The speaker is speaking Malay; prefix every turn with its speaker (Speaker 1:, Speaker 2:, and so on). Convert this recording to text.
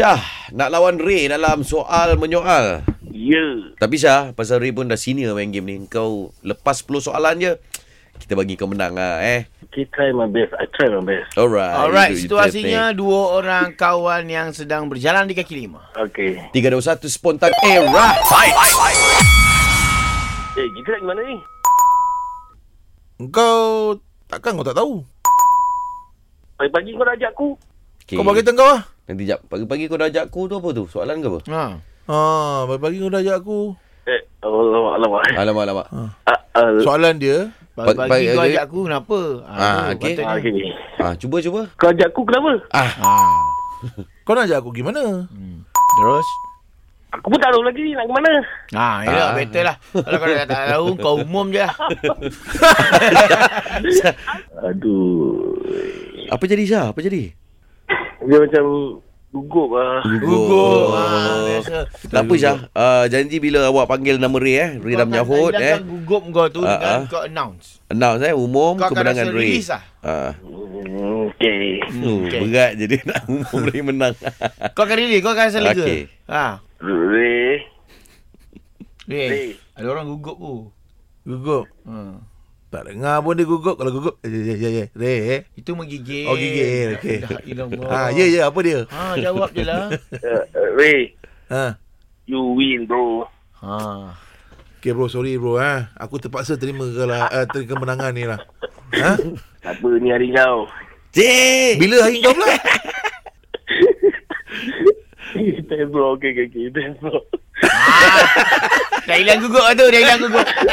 Speaker 1: Syah nak lawan Ray dalam soal menyoal.
Speaker 2: Ya.
Speaker 1: Tapi Syah, pasal Ray pun dah senior main game ni. Kau lepas 10 soalan je, kita bagi kau menang lah eh.
Speaker 2: Okay, try my best. I try my best.
Speaker 1: Alright.
Speaker 3: Alright,
Speaker 1: You do your
Speaker 3: situasinya dua orang kawan yang sedang berjalan di kaki lima.
Speaker 2: Okay.
Speaker 1: thing. Tiga, dua, satu, spontan era. Fight.
Speaker 2: Eh, kita nak pergi mana ni?
Speaker 4: Engkau takkan kau tak tahu.
Speaker 2: Pagi-pagi kau dah ajak aku.
Speaker 1: Okay.
Speaker 4: Kau bagi tengkau ah.
Speaker 1: Nanti jap. Pagi-pagi kau dah ajak aku tu apa tu? Soalan ke apa?
Speaker 3: Ha.
Speaker 4: Ha, pagi-pagi kau dah ajak aku.
Speaker 2: Eh, alamak, alamak.
Speaker 1: Alamak, alamak.
Speaker 2: Ah, ah,
Speaker 4: Soalan dia,
Speaker 3: Pagi-pagi
Speaker 1: Pagi-
Speaker 3: kau
Speaker 1: pagi-
Speaker 3: ajak aku kenapa? Ha,
Speaker 1: Ah,
Speaker 3: tu
Speaker 1: okey.
Speaker 3: patutnya.
Speaker 2: ah, okay.
Speaker 1: Ah, cuba, cuba.
Speaker 2: Kau ajak aku kenapa?
Speaker 1: Ah,
Speaker 3: Ha.
Speaker 4: kau nak ajak aku gimana?
Speaker 3: Hmm. Terus?
Speaker 2: Aku pun tak tahu lagi nak ke mana.
Speaker 3: Ha, ya lah,
Speaker 1: Ah.
Speaker 3: better lah. Kalau kau dah tak tahu, kau umum je lah.
Speaker 2: Aduh.
Speaker 1: apa jadi Syah? Apa jadi?
Speaker 2: Dia macam gugup lah.
Speaker 3: Gugur. Ha, biasa.
Speaker 1: Tak apa Syah. Ah, janji bila awak panggil nama Ray eh. Ray dah menyahut
Speaker 3: Kau akan
Speaker 1: eh.
Speaker 3: hilangkan gugup kau tu
Speaker 1: Ah,
Speaker 3: dengan
Speaker 1: ah.
Speaker 3: kau announce.
Speaker 1: Announce eh. Umum
Speaker 3: Kau akan
Speaker 1: kemenangan
Speaker 3: rasa
Speaker 1: Ray.
Speaker 3: release lah.
Speaker 1: Ah.
Speaker 2: Hmm, Okay.
Speaker 1: Oh,
Speaker 3: Okay.
Speaker 1: Berat je dia nak umum Ray menang.
Speaker 3: Kau akan release, kau akan rasa lega.
Speaker 1: Okey.
Speaker 3: Ha.
Speaker 2: Re.
Speaker 3: Weh,
Speaker 2: Release.
Speaker 3: ada orang gugup tu.
Speaker 4: Gugup.
Speaker 3: Ha.
Speaker 4: Tak dengar pun dia gugup. Kalau gugup, eh, ya, ya, ya. Re.
Speaker 3: Itu menggigil.
Speaker 4: Oh, gigil, okey.
Speaker 3: La ilallah.
Speaker 4: Ha, ya, ya, apa dia?
Speaker 3: Ha, jawab je lah.
Speaker 2: Uh, Re.
Speaker 4: Ha.
Speaker 2: You win, bro.
Speaker 3: Ha.
Speaker 4: Okay bro, sorry bro ha. Aku terpaksa terima kalah, uh, terima kemenangan ni lah. Ha?
Speaker 2: Apa ni hari kau?
Speaker 1: Cik!
Speaker 4: Bila hari kau pula?
Speaker 2: Thanks, bro. Okay, okay, okay. Thanks, bro.
Speaker 3: Dah hilang gugup lah tu, dah hilang gugup.